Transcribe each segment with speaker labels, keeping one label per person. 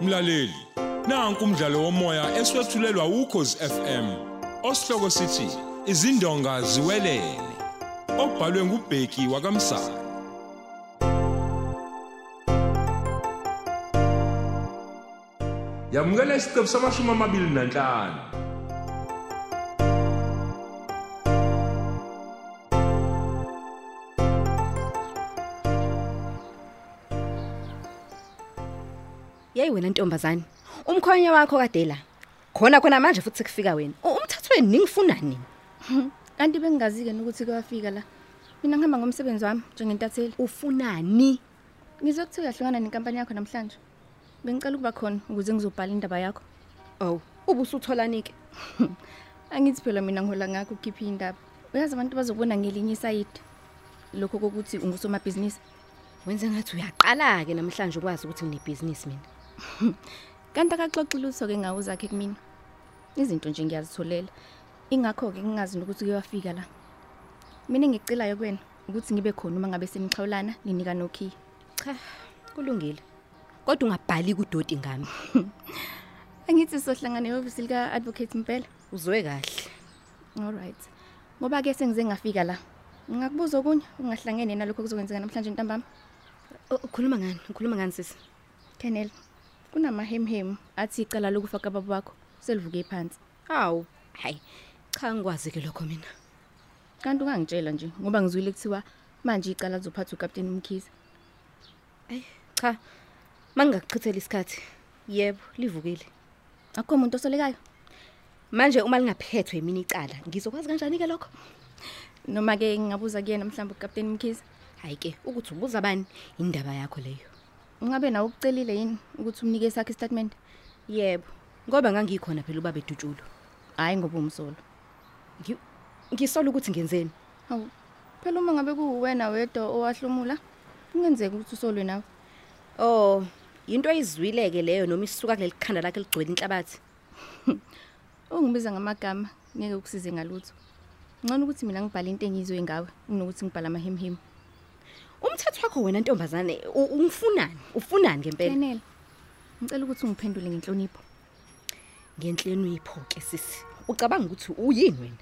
Speaker 1: Mlaleli, nanku umdlalo womoya eswetshulelwa ukhozi FM. Osihloko sithi izindonga ziwelele. Obhalwe ngubheki wakamsana. Yamukela isiqephu samashumi amabili nanhlanu.
Speaker 2: yeyi wena ntombazane umkhonye wakho kade la khona khona manje futhi kufika wena U- umthathwe ningifuna nini
Speaker 3: kanti bengingazi-ke nokuthi kwafika la mina ngihamba ngomsebenzi wami njengentatheli
Speaker 2: ufunani
Speaker 3: ngizwe kuthiwa uyahlukana nenkampani yakho namhlanje bengicela ukuba khona ukuze ngizobhala indaba yakho
Speaker 2: ow ubusutholanike
Speaker 3: angithi phela mina ngihola ngakho ukhiphe indaba uyazi abantu bazobona ngelinye isayidi lokho kokuthi ungusomabhizinisi
Speaker 2: wenze ngathi uyaqala-ke namhlanje ukwazi ukuthi nginebhizinisi mina
Speaker 3: kanti akaxoxi lutho-ke ngawo zakhe kumina izinto nje ngiyazitholela ingakho-ke ngingazi nokuthi kuyafika la mina engikucelayo kwena ukuthi ngibe khona uma ngabe senixhawulana ninika nokhiya
Speaker 2: cha kulungile kodwa ungabhali kudoti ngami
Speaker 3: angithi sohlangana ehhovisi lika-advocate mpela
Speaker 2: uzwe kahle
Speaker 3: Alright. Ngoba ke sengize ngafika la. Ngingakubuza okunye ungahlangene nalokho kuzokwenzeka namhlanje ntambama.
Speaker 2: O- ukhuluma ngani ukhuluma ngani sisi
Speaker 3: Kenel. Kunamahemhem athi icala lokufa kababa wakho selivuke phansi.
Speaker 2: hawu hayi cha ngikwazi-ke lokho mina
Speaker 3: Kanti ungangitshela nje ngoba ngizwile kuthiwa manje icala lizophathwa uCaptain Mkhize.
Speaker 2: ayi cha ma ngingakuchithela isikhathi yebo livukile
Speaker 3: Akho umuntu osolekayo
Speaker 2: manje uma lingaphethwe yimina icala ngizokwazi kanjani-ke lokho
Speaker 3: noma ke ngingabuza kuyena mhlawumbe uCaptain Mkhize.
Speaker 2: hayi ke ukuthi ubuza bani indaba yakho leyo
Speaker 3: Ungabe nawo ukucelile yini ukuthi umnike sakhe istatement?
Speaker 2: yebo ngoba ngangikhona phela ubaba edutshulo
Speaker 3: Hayi ngoba umsolo.
Speaker 2: Ngi- ngisola ukuthi ngenzeni
Speaker 3: Hawu. Phela uma ngabe kuwena wedwa owahlomula, kungenzeka ukuthi usolwe nawe.
Speaker 2: oh yinto ayizwile-ke leyo noma isuka kuleli khanda lakhe ligcwele inhlabathi
Speaker 3: ungibiza ngamagama ngeke ukusize ngalutho ngcono ukuthi mina ngibhale into engizwe ngawe kunokuthi ngibhale amahemhem
Speaker 2: umthetho wakho wena ntombazane u- ungifunani ufunani ngempela
Speaker 3: enele ngicela ukuthi ungiphendule ngenhlonipho
Speaker 2: ngenhlonipho-ke sisi ucabanga ukuthi uyini wena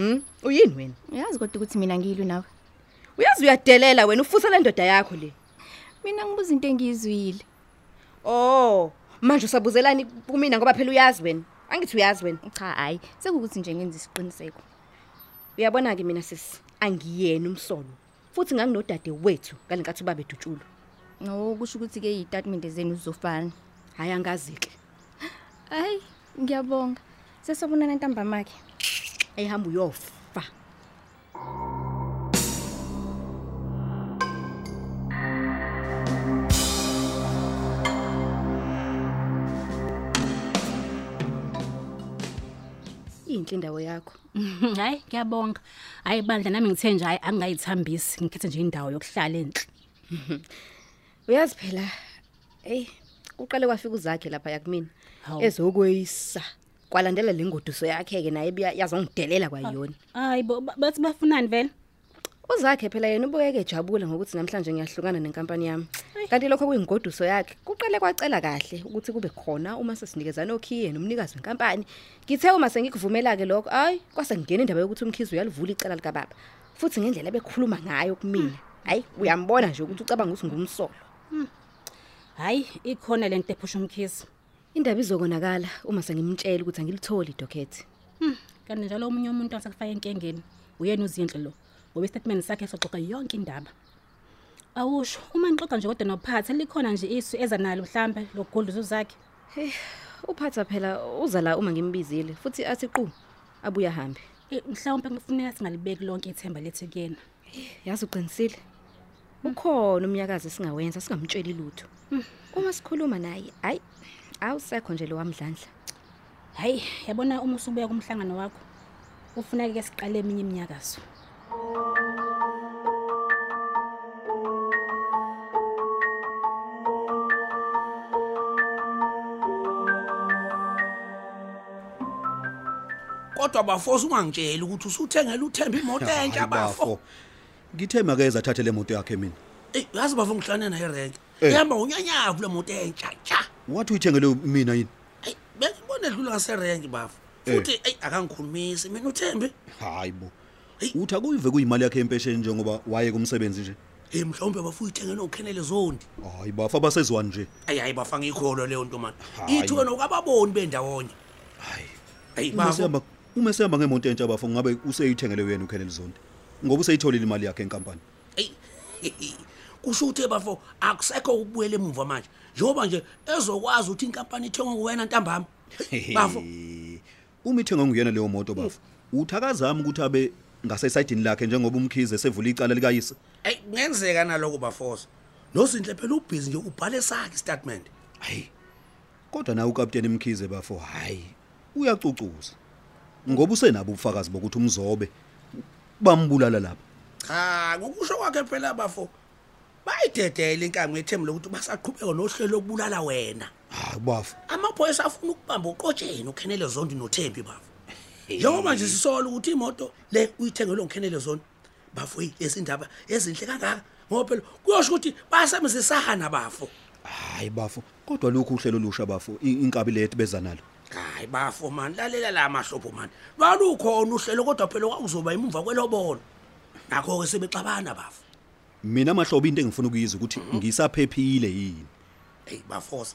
Speaker 2: um uyini wena
Speaker 3: uyazi kodwa ukuthi mina ngiyilwe nawe
Speaker 2: uyazi uyadelela wena ufusele ndoda yakho le
Speaker 3: mina ngibuza into engiyizwile
Speaker 2: oh manje usabuzelani kumina ngoba phela uyazi wena angithi uyazi wena
Speaker 3: cha hhayi sekukuthi nje ngenza isiqiniseko
Speaker 2: uyabona-ke mina sisi angiyena umsolo futhi nganginodade wethu ngale nkathi ubaba edutshulo
Speaker 3: no kusho ukuthi-ke iy'tatimende zenu zizofana
Speaker 2: hhayi angazi-ke
Speaker 3: hhayi ngiyabonga sesobonana ntambamakhe
Speaker 2: ayihamba uyofa inhle indawo yakho
Speaker 4: hayi ngiyabonga hayi bandla nami ngithe nje hayi angingayithambisi ngikhethe nje indawo yokuhlala enhle
Speaker 2: uyazi phela eyi kuqale kwafika uzakhe laphaya kumina
Speaker 4: Hawu.
Speaker 2: ezokweyisa kwalandela le ngoduso yakhe-ke naye ebuya- yazongidelela kwayiyona
Speaker 4: hayi bo- ba- bathi bafunani vele
Speaker 2: uzakhe phela yena ubukeke ejabula ngokuthi namhlanje ngiyahlukana nenkampani yami
Speaker 4: Ayi.
Speaker 2: kanti lokho kuyingoduso yakhe kuqale kwacela kahle ukuthi kube khona uma sesinikezana okhiye nomnikazi wenkampani ngithe uma sengikuvumela-ke lokho hhayi kwase ngingena indaba yokuthi umkhizi uyalivula icala likababa futhi ngendlela bekhuluma ngayo kumina hhayi uyambona nje ukuthi ucabanga ukuthi ngumsolo
Speaker 4: hayi ikhona le nto ephusha umkhizi
Speaker 2: indaba izokonakala uma sengimtshela ukuthi angilitholi idokhethi
Speaker 4: Hmm, kanti njalo omunye umuntu asakufaka enkengeni uyena uzinhle lo ngoba isitatimende sakhe soxoxa yonke indaba awusho uma nixoxa nje kodwa nophatha likhona nje isu eza nalo mhlambe lokugodluza uzakhe
Speaker 2: heyi uphatha phela uza la uma ngimbizile futhi athi qu abuye ahambe
Speaker 4: Eh, mhlawumpe kufuneka singalibeki lonke ithemba lethu kuyena
Speaker 2: yazi uqinisile ukhona umnyakazi esingawenza singamtsheli lutho uma sikhuluma naye hhayi awusekho nje lowamdlandla
Speaker 4: hayi yabona uma usubuya kumhlangano wakho ufuneke ke siqale eminye iminyakazo
Speaker 5: kodwa bafosa ungangitsheli ukuthi usuthengela uthemba imoto entsha
Speaker 6: Hayi
Speaker 5: bafo
Speaker 6: ngithe make ezathathe le moto yakhe mina
Speaker 5: eyi yazi bafo ngihlane naye renke
Speaker 6: Eh.
Speaker 5: ihamba unyanyavu le moto entsha tsha
Speaker 6: wathi uyithengele mina yini
Speaker 5: Ayi bekubona edlula ngaserenki bafu.
Speaker 6: Eh.
Speaker 5: Futhi ayi akangikhulumisi mina uThembi.
Speaker 6: hayi bo
Speaker 5: Hey.
Speaker 6: uthi akuyive kuyimali yakhe empesheni njengoba waye kumsebenzi nje
Speaker 5: Eh mhlawumbe bafu uyithengele okhenele zondi.
Speaker 6: hayi bafa abaseziwani nje
Speaker 5: Ayi hayi bafanga ikholo leyo ntomani.
Speaker 6: Hhayi.
Speaker 5: Ithuke nokababoni bendawonye.
Speaker 6: hayi
Speaker 5: Ayi
Speaker 6: uma
Speaker 5: bafu.
Speaker 6: sihamba uma sihamba ngemoto entsha bafa ngabe useyithengele yena ukhenele zonke ngoba useyitholile imali yakhe enkampani
Speaker 5: Ayi. Kusho ukuthi bafo akusekho ukubuyela emuva manje. Njengoba nje ezokwazi ukuthi inkampani ithengwe kuwena ntambama. Bafu.
Speaker 6: uma ithenga nguyena leyo moto bafa uthi akazami ukuthi abe ngasesayidini lakhe njengoba umkhize sevula icala likayise
Speaker 5: Ayi kungenzeka naloko bafosa. Nozinhle phela ubhizi nje ubhale sakhe statement.
Speaker 6: hayi kodwa naye ukapteni mkhize bafo hayi uyacucuza ngoba usenabo ubufakazi bokuthi umzobe bambulala lapha
Speaker 5: Cha, ngokusho kwakhe phela bafo. Bayidedele inkamu yethembu lokuthi basaqhubeka nohlelo lokubulala wena.
Speaker 6: hayi bafo
Speaker 5: Amaphoyisa afuna ukubamba uqotsheni uKhenele Zondi noThembi bafo. Njengoba nje sisola ukuthi imoto le uyithengele uKhenele Zondi. Bafo hey, lezi indaba ezinhle kangaka. Ngoba phela kuyosho ukuthi basemzisana bafo.
Speaker 6: hayi bafo kodwa lokhu uhlelo olusha bafo i- inkabi lethi beza nalo
Speaker 5: Hayi bafo man, lalela la mahlopho man. Balukhona uhlelo kodwa phela kwakuzoba imuva kwelobono. Nakho ke sebexabana bafo.
Speaker 6: mina mahlobo into engifuna ukuyizwa ukuthi ngisaphephile yini
Speaker 5: hey bafosa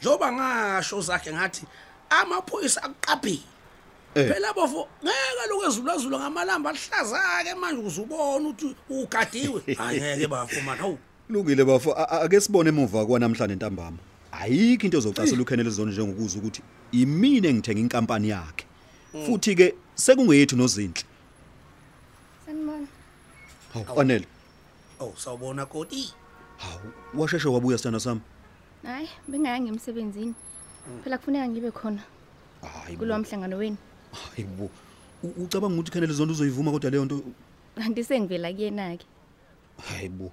Speaker 5: njoba ngasho zakhe ngathi amaphoyisa akuqaphile
Speaker 6: Eh.
Speaker 5: phela bofo ngeke lokwezulazula ngamalamba alihlaza ke manje uzubona ukuthi ugadiwe hayi ngeke bafo man hawu
Speaker 6: lungile bafo a- a- ake sibone emuva kwanamhlanje ntambama ayikho into ezocasela ukhenele zone njengokuza ukuthi imini engithenga inkampani yakhe futhi ke sekungeyethu nozinhle
Speaker 3: sanibona
Speaker 6: hawu anele
Speaker 5: oh sawubona koti
Speaker 6: hawu washeshe wabuya sithanda sami
Speaker 3: hayi bengayanga emsebenzini phela kufuneka ngibe khona
Speaker 6: hayi bo.
Speaker 3: kulowa mhlangano wenu
Speaker 6: hayi bo U- ucabanga ukuthi khenele zonke uzoyivuma kodwa leyo nto
Speaker 3: kanti sengivela kuyena-ke
Speaker 6: hayi bo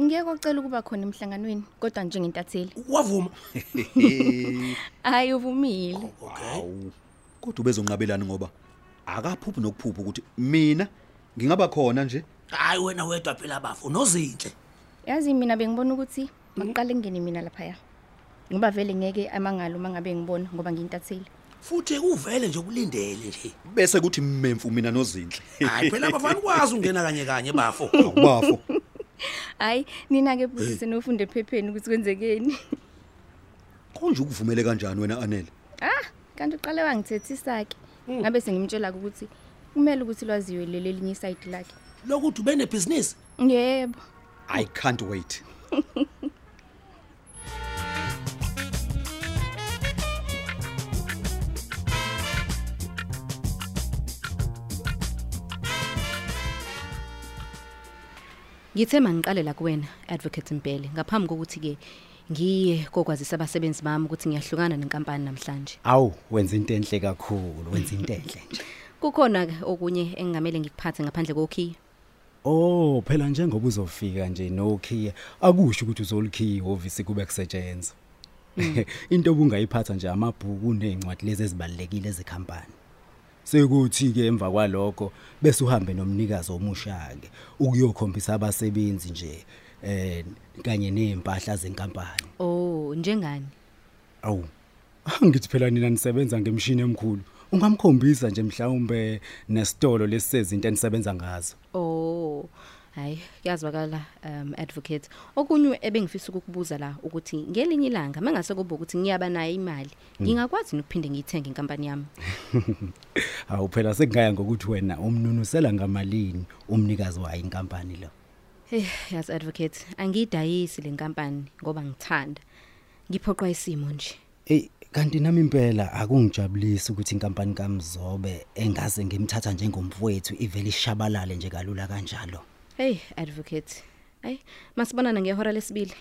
Speaker 3: ngeke ocela ukuba khona emhlanganweni kodwa njengentatheli
Speaker 5: wavuma
Speaker 3: hhayi uvumile
Speaker 5: okay
Speaker 6: hawu kodwa ubezonqabelani ngoba akaphuphi nokuphupha ukuthi mina ngingaba khona nje
Speaker 5: hayi wena wedwa phela bafo nozinhle
Speaker 3: yazi mina bengibona ukuthi
Speaker 2: Hmm?
Speaker 3: makuqale ngingene mina laphaya ngoba vele ngeke amangalo uma ngabe ngibona ngoba ngiyintatheli
Speaker 5: futhi uvele nje kulindele nje
Speaker 6: bese kuthi mmemfu mina nozinhle
Speaker 5: hayi phela bafana kwazi ungena kanye kanye bafo
Speaker 6: awubafo
Speaker 3: hhayi nina-ke futhi senofunda ephepheni ukuthi kwenzekeni
Speaker 6: konje ukuvumele kanjani wena anele
Speaker 3: ah kanti uqale wangithethisa-ke
Speaker 2: Hmm.
Speaker 3: ngabe sengimtshela-ke ukuthi kumele ukuthi lwaziwe leli elinye isayidi lakhe
Speaker 5: lokuthi ubenebhizinisi
Speaker 3: yebo
Speaker 6: i can't wait
Speaker 2: ngithe mangiqalela kuwena advocate mpele ngaphambi kokuthi-ke ngiye kokwazisa abasebenzi bami ukuthi ngiyahlukana nenkampani namhlanje
Speaker 7: awu wenza into enhle kakhulu wenza into enhle nje
Speaker 2: kukhona-ke okunye engingamele ngikuphathe ngaphandle kokhiye
Speaker 7: oh phela njengoba uzofika nje nokhiya akusho ukuthi uzolikhiya ihhovisi kube kusetshenzwa into obungayiphatha nje amabhuku nezincwadi lezi ezibalekile ezekhampani sekuthi ke emva kwalokho bese uhambe nomnikazi omusha ke ukuyokhombisa abasebenzi nje eh kanye nezimpahla zenkampani
Speaker 2: o oh, njengani
Speaker 7: awu angithi phela nina nisebenza ngemshini emkhulu ungamkhombisa nje mhlawumbe nesitolo lesisezinto enisebenza ngazo
Speaker 2: Oh, hayi yazwakala um advocate. Okunye ebengifisa ukukubuza la ukuthi ngelinye ilanga mangase kube ukuthi ngiyaba nayo imali, ngingakwazi ukuphinde ngiyithenge inkampani yami.
Speaker 7: hawu phela sekungaya ngokuthi wena umnunusela ngamalini umnikazi wayo inkampani lo
Speaker 2: Hey, yas advocate, angidayisi lenkampani ngoba ngithanda. Ngiphoqwa isimo nje.
Speaker 7: eyi kanti nami impela akungijabulisi ukuthi inkampani kamzobe engase ngimthatha njengomfowethu ivele ishabalale nje kalula kanjalo
Speaker 2: Hey advocate. Ay, masibonana ngehora lesibili.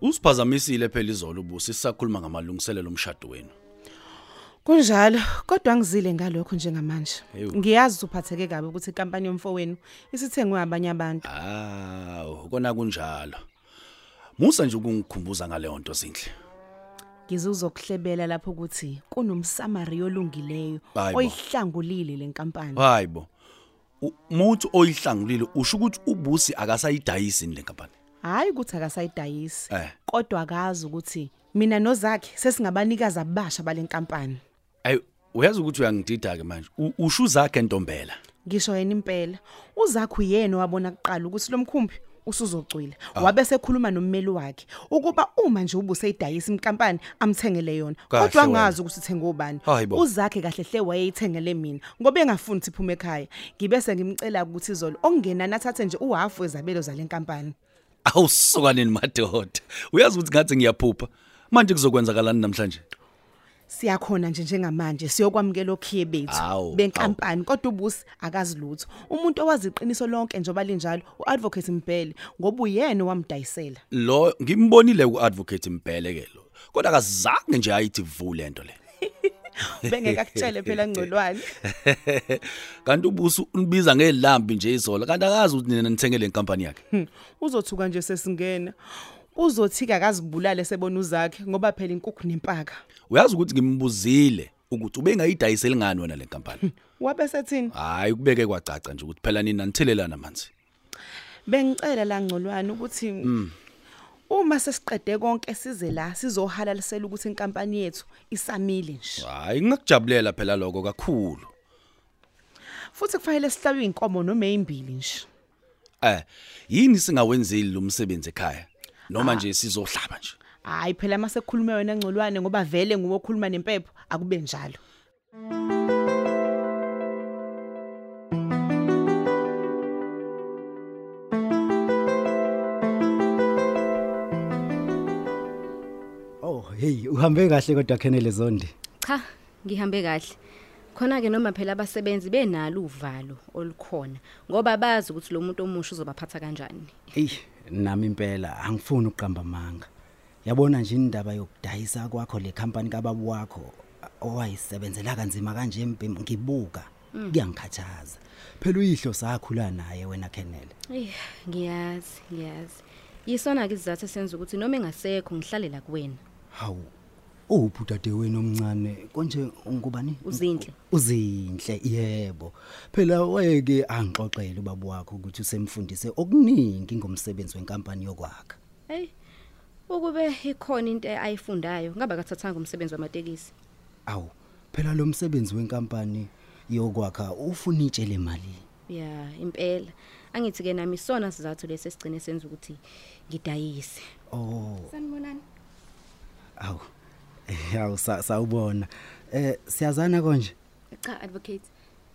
Speaker 8: Usiphazamisile phela izolo ubusi sisakhuluma ngamalungiselelo omshado wenu.
Speaker 9: Kunjalo, kodwa ngizile ngalokho njengamanje.
Speaker 8: Ewu.
Speaker 9: Ngiyazi uphatheke kabi ukuthi inkampani yomfo wenu isithengwe abanye abantu.
Speaker 8: Ah, ukona kunjalo. Musa nje ukungikhumbuza ngale nto zinhle.
Speaker 9: ngizuzokuhlebela lapho ukuthi kunomsamari olungileyo
Speaker 8: Hayi bo.
Speaker 9: oyihlangulile lenkampani
Speaker 8: hayi bo U- muthi oyihlangulile usho ukuthi ubusi akasayidayisini le nkampani
Speaker 9: hayi ukuthi akasayidayisi
Speaker 8: Eh.
Speaker 9: kodwa akazi ukuthi mina nozakhe sesingabanikazi abasha balenkampani
Speaker 8: ayi uyazi ukuthi uyangidida ke manje U- usho uzakhe ntombela
Speaker 9: ngisho yena impela uzakhe uyena wabona kuqala ukuthi lomkhumbi usuzocwila
Speaker 8: Ah.
Speaker 9: wabe sekhuluma nommeli wakhe ukuba uma nje ubuse idayisa inkampani amthengele yona
Speaker 8: Kahle
Speaker 9: kodwa
Speaker 8: wena.
Speaker 9: angazi ukuthi thenga ubani
Speaker 8: Hayi bo.
Speaker 9: uzakhe kahle hle wayeyithengele mina ngoba engafuni ukuthi iphume ekhaya ngibese ngimcela ukuthi izolo okungenani athathe nje uhafu wezabelo zalenkampani
Speaker 8: awusukaneni madoda uyazi ukuthi ngathi ngiyaphupha manje kuzokwenzakalani namhlanje
Speaker 9: siyakhona nje njengamanje siyokwamukela okhiye bethu
Speaker 8: Awu,
Speaker 9: benkampani kodwa ubusi akazi lutho umuntu owazi iqiniso lonke njengoba linjalo uadvocate Mbhele ngoba uyena owamdayisela
Speaker 8: lo ngimbonile ku-advocate mpele ke lo kodwa akazange nje ayithi vu le nto le
Speaker 9: bengeke akutshele phela ngcolwane
Speaker 8: kanti ubusi unibiza ngelambi nje izola kanti akazi ukuthi nina nithengele inkampani yakhe
Speaker 9: Hmm, uzothuka nje sesingena uzothika akazibulale sebona uzakhe ngoba phela inkukhu nempaka
Speaker 8: uyazi ukuthi ngimbuzile ukuthi ubengayidayiseli ngani wena le nkampani
Speaker 9: wabe sethini
Speaker 8: hayi kubeke kwacaca nje ukuthi phela nina nithelelana manje
Speaker 9: bengicela la ngcolwane ukuthi uma sesiqede konke size la sizohalalisela ukuthi inkampani yethu isamile nje
Speaker 8: hayi ngingakujabulela phela lokho kakhulu
Speaker 9: futhi kufanele sihlabe inkomo noma ezimbili nje
Speaker 8: eh yini singawenzeli lo msebenzi ekhaya noma nje sizohlaba nje
Speaker 9: hayi phela mase kukhuluma wena ngcolwane ngoba vele nguwe okhuluma nempepho akube njalo
Speaker 7: Oh hey uhambe kahle kodwa Kenneth Zondi.
Speaker 2: cha ngihambe kahle khona-ke noma phela abasebenzi benalo uvalo olukhona ngoba bazi ukuthi lo muntu omusha uzobaphatha kanjani
Speaker 7: Hey nami impela angifuni uqamba manga. Yabona nje indaba yokudayisa kwakho le company kababu wakho owayisebenzela kanzima kanje impimo ngibuka kuyangikhathaza. Phela uyihlo sakhula naye wena Kenneth.
Speaker 2: eyi ngiyazi ngiyazi yisona-ke isizathu esenza ukuthi noma engasekho ngihlalela kuwena
Speaker 7: Hawu. Uphu dadewenu omncane konje ngubani?
Speaker 2: Uzinhle.
Speaker 7: Uzinhle yebo. Phela weke angixoxele ubaba wakho ukuthi usemfundise okuningi ngomsebenzi wenkampani yokwakha.
Speaker 2: eyi ukube ikhona into ayifundayo ngabe akathathanga umsebenzi wamatekisi
Speaker 7: Awu, phela lo msebenzi wenkampani yokwakha ufuna itshele imali.
Speaker 2: ya impela angithi-ke nami isona sizathu lesi esigcine senza ukuthi ngidayise
Speaker 7: Oh,
Speaker 3: sanibonani
Speaker 7: awu. Yawu sa- sawubona. Eh siyazana konje?
Speaker 3: cha advocate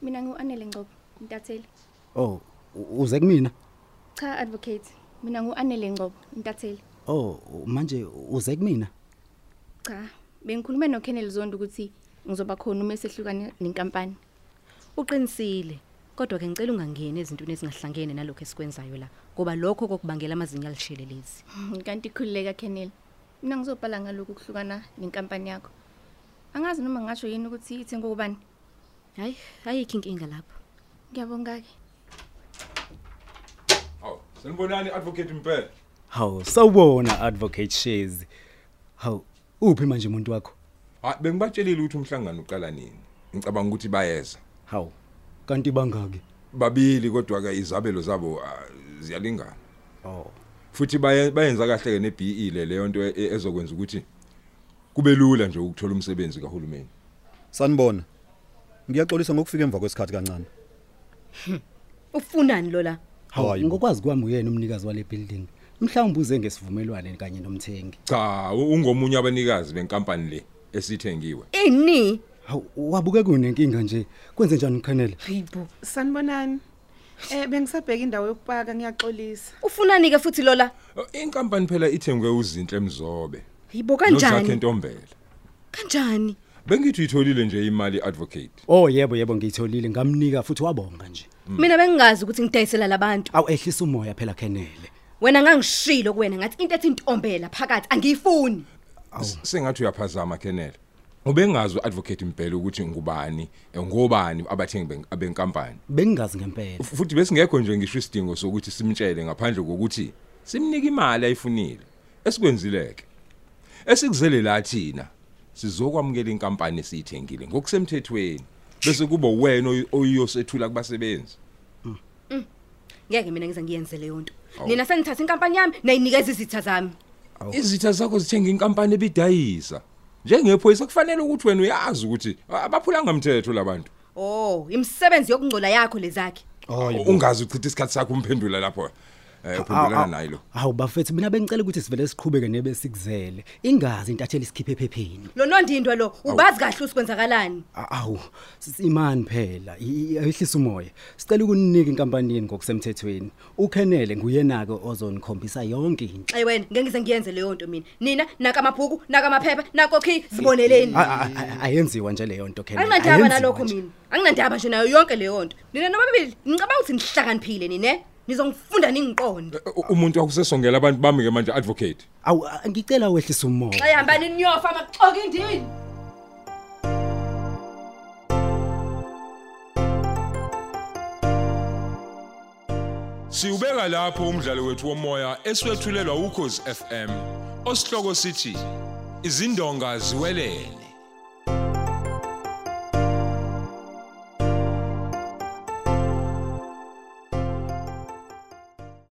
Speaker 3: mina ngu-anele ngcobo intatheli
Speaker 7: Oh, u- uze kumina.
Speaker 3: cha advocate mina ngu-anele ngcobo intatheli
Speaker 7: Oh, manje uze kumina.
Speaker 3: cha bengikhulume noKenneth Zondo ukuthi ngizoba khona uma esehlukana nenkampani
Speaker 2: uqinisile kodwa-ke ngicela ungangeni ezintweni ezingahlangene nalokho esikwenzayo la ngoba lokho kokubangela amazinyo alishelelezi
Speaker 3: kanti khulileka Kenneth mina ngizobhala ngalokhu kuhlukana nenkampani yakho angazi noma ngasho yini ukuthi ithengo kubani
Speaker 2: hayi ayikho inkinga lapho
Speaker 3: ngiyabonga ke
Speaker 1: Aw, sanibonani advocate Mpela.
Speaker 7: Hawu, sawubona advocate Shezi. Hawu, uphi manje umuntu wakho?
Speaker 1: Hayi bengibatshelile ukuthi umhlangano uqala nini. Ngicabanga ukuthi bayeza.
Speaker 7: Hawu, kanti bangaki?
Speaker 1: Babili kodwa ke izabelo zabo ah, ziyalingana.
Speaker 7: Oh.
Speaker 1: Futhi baye- bayenza kahle ke neBE le leyo nto e- ezokwenza ukuthi kube lula nje ukuthola umsebenzi kahulumeni.
Speaker 6: Sanibona. Ngiyaxolisa ngokufika emva kwesikhathi kancane.
Speaker 2: ufunani lola
Speaker 6: Hayi
Speaker 7: Hawu,
Speaker 6: bo.
Speaker 7: ngokwazi kwami uyena umnikazi wale building. Mhlawumbe uze ngesivumelwane kanye nomthengi.
Speaker 1: Cha, u- ungomunye abanikazi benkampani le esithengiwe.
Speaker 2: ini
Speaker 7: Hawu, wabuke kunenkinga nje. Kwenze njani ukhanele?
Speaker 2: hayibo
Speaker 9: sanibonani eh bengisabheka indawo yokupaka ngiyaxolisa
Speaker 2: ufunani-ke futhi lola
Speaker 1: Oh, Inkampani phela ithengwe uzinhle mzobe.
Speaker 2: hayibo
Speaker 1: Nozakhe
Speaker 2: kanjani
Speaker 1: Ntombela.
Speaker 2: kanjani
Speaker 1: Bengithi uyitholile nje imali advocate.
Speaker 7: Oh yebo yebo ngiyitholile ngamnika futhi wabonga nje.
Speaker 2: mina bengingazi ukuthi ngidayisela labantu
Speaker 7: Awu ehlisa umoya phela Khenele.
Speaker 2: wena ngangishilo kuwena ngathi into ethi intombela phakathi angiyifuni
Speaker 1: S- Sengathi uyaphazama Kenneth. Ubengazi uadvocate Mpela ukuthi ngubani, eh, ngobani abathengi ben- benkampani.
Speaker 7: Bengingazi ngempela.
Speaker 1: F- Futhi besingekho nje ngisho isidingo sokuthi simtshele ngaphandle kokuthi simnike imali ayifunile. Esikwenzileke. esikuzele la thina sizokwamukela inkampani esiyithengile ngokusemthethweni bese kuba wena oy- oyiyosethula kubasebenzi
Speaker 2: ngeke mina ngize ngiyenze leyo nto nina sengithatha inkampani yami nayinikeza izitha zami
Speaker 1: izitha zakho zithenga inkampani ebidayisa njengephoyisa kufanele ukuthi wena uyazi ukuthi abaphulanga mthetho labantu
Speaker 2: oh imisebenzi yokungcola yakho lezakhe
Speaker 1: ungazi uchitha isikhathi sakho umphendula lapho eh uphendulana naye lo
Speaker 7: Hawu bafethu mina bengicela ukuthi sivele siqhubeke nebesikuzele. Ingazi intatheli sikhiphe ephepheni.
Speaker 2: lo nondindwa lo ubazi kahle usikwenzakalani
Speaker 7: A- Awu simani phela i- i- ayihlisa umoya. Sicela ukunika inkampani yenu ngokusemthethweni. UKenele nguyena ke ozonikhombisa yonke into.
Speaker 2: xayi wena ngeke ngize ngiyenze leyo nto mina nina nakamabhuku nakamaphepha nakokhi ziboneleni
Speaker 7: A- a- a- Ayenziwa nje leyo nto Kenele.
Speaker 2: anginandaba
Speaker 7: ayenziwa
Speaker 2: nalokho
Speaker 7: nje.
Speaker 2: mina anginandaba nje nayo yonke leyo nto nina nobabili ngicabanga ukuthi nihlakaniphile nine nizongifunda ningiqonde
Speaker 1: U- umuntu akusesongela abantu bami ke manje advocate
Speaker 7: Awu a- ngicela wehlisa umoya.
Speaker 2: xa ihambani niyofa maxoka indini
Speaker 1: Siubeka lapho umdlalo wethu womoya eswetshulelwa ukhozi FM. Osihloko sithi izindonga ziwelele.